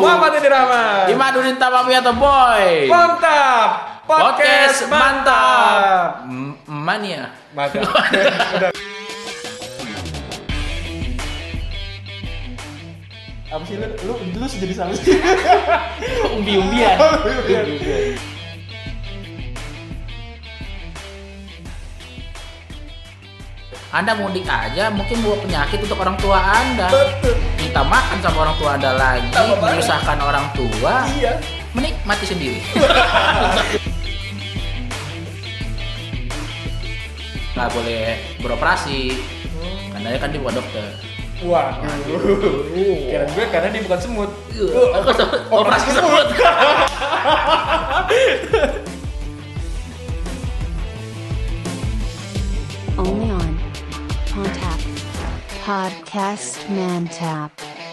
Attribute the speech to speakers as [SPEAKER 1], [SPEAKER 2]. [SPEAKER 1] Muhammad Indraman.
[SPEAKER 2] Imaduddin Tamawi atau Boy.
[SPEAKER 1] Mantap. Podcast,
[SPEAKER 2] Podcast
[SPEAKER 1] mantap.
[SPEAKER 2] mantap. Mm, ya? M- Mania.
[SPEAKER 1] Maka. Apa sih lu lu lu jadi sama sih?
[SPEAKER 2] Umbi-umbian.
[SPEAKER 1] Iya.
[SPEAKER 2] Anda mudik aja mungkin bawa penyakit untuk orang tua Anda.
[SPEAKER 1] Betul.
[SPEAKER 2] Kita makan sama orang tua Anda lagi,
[SPEAKER 1] Tambah parah.
[SPEAKER 2] menyusahkan orang tua,
[SPEAKER 1] Iya.
[SPEAKER 2] menikmati sendiri. Nggak boleh beroperasi, karena kan dia bukan dokter.
[SPEAKER 1] Wah. Kira gue karena dia bukan semut.
[SPEAKER 2] Iya. Operasi tersebut.
[SPEAKER 3] only on Pontap Podcast Man Tap.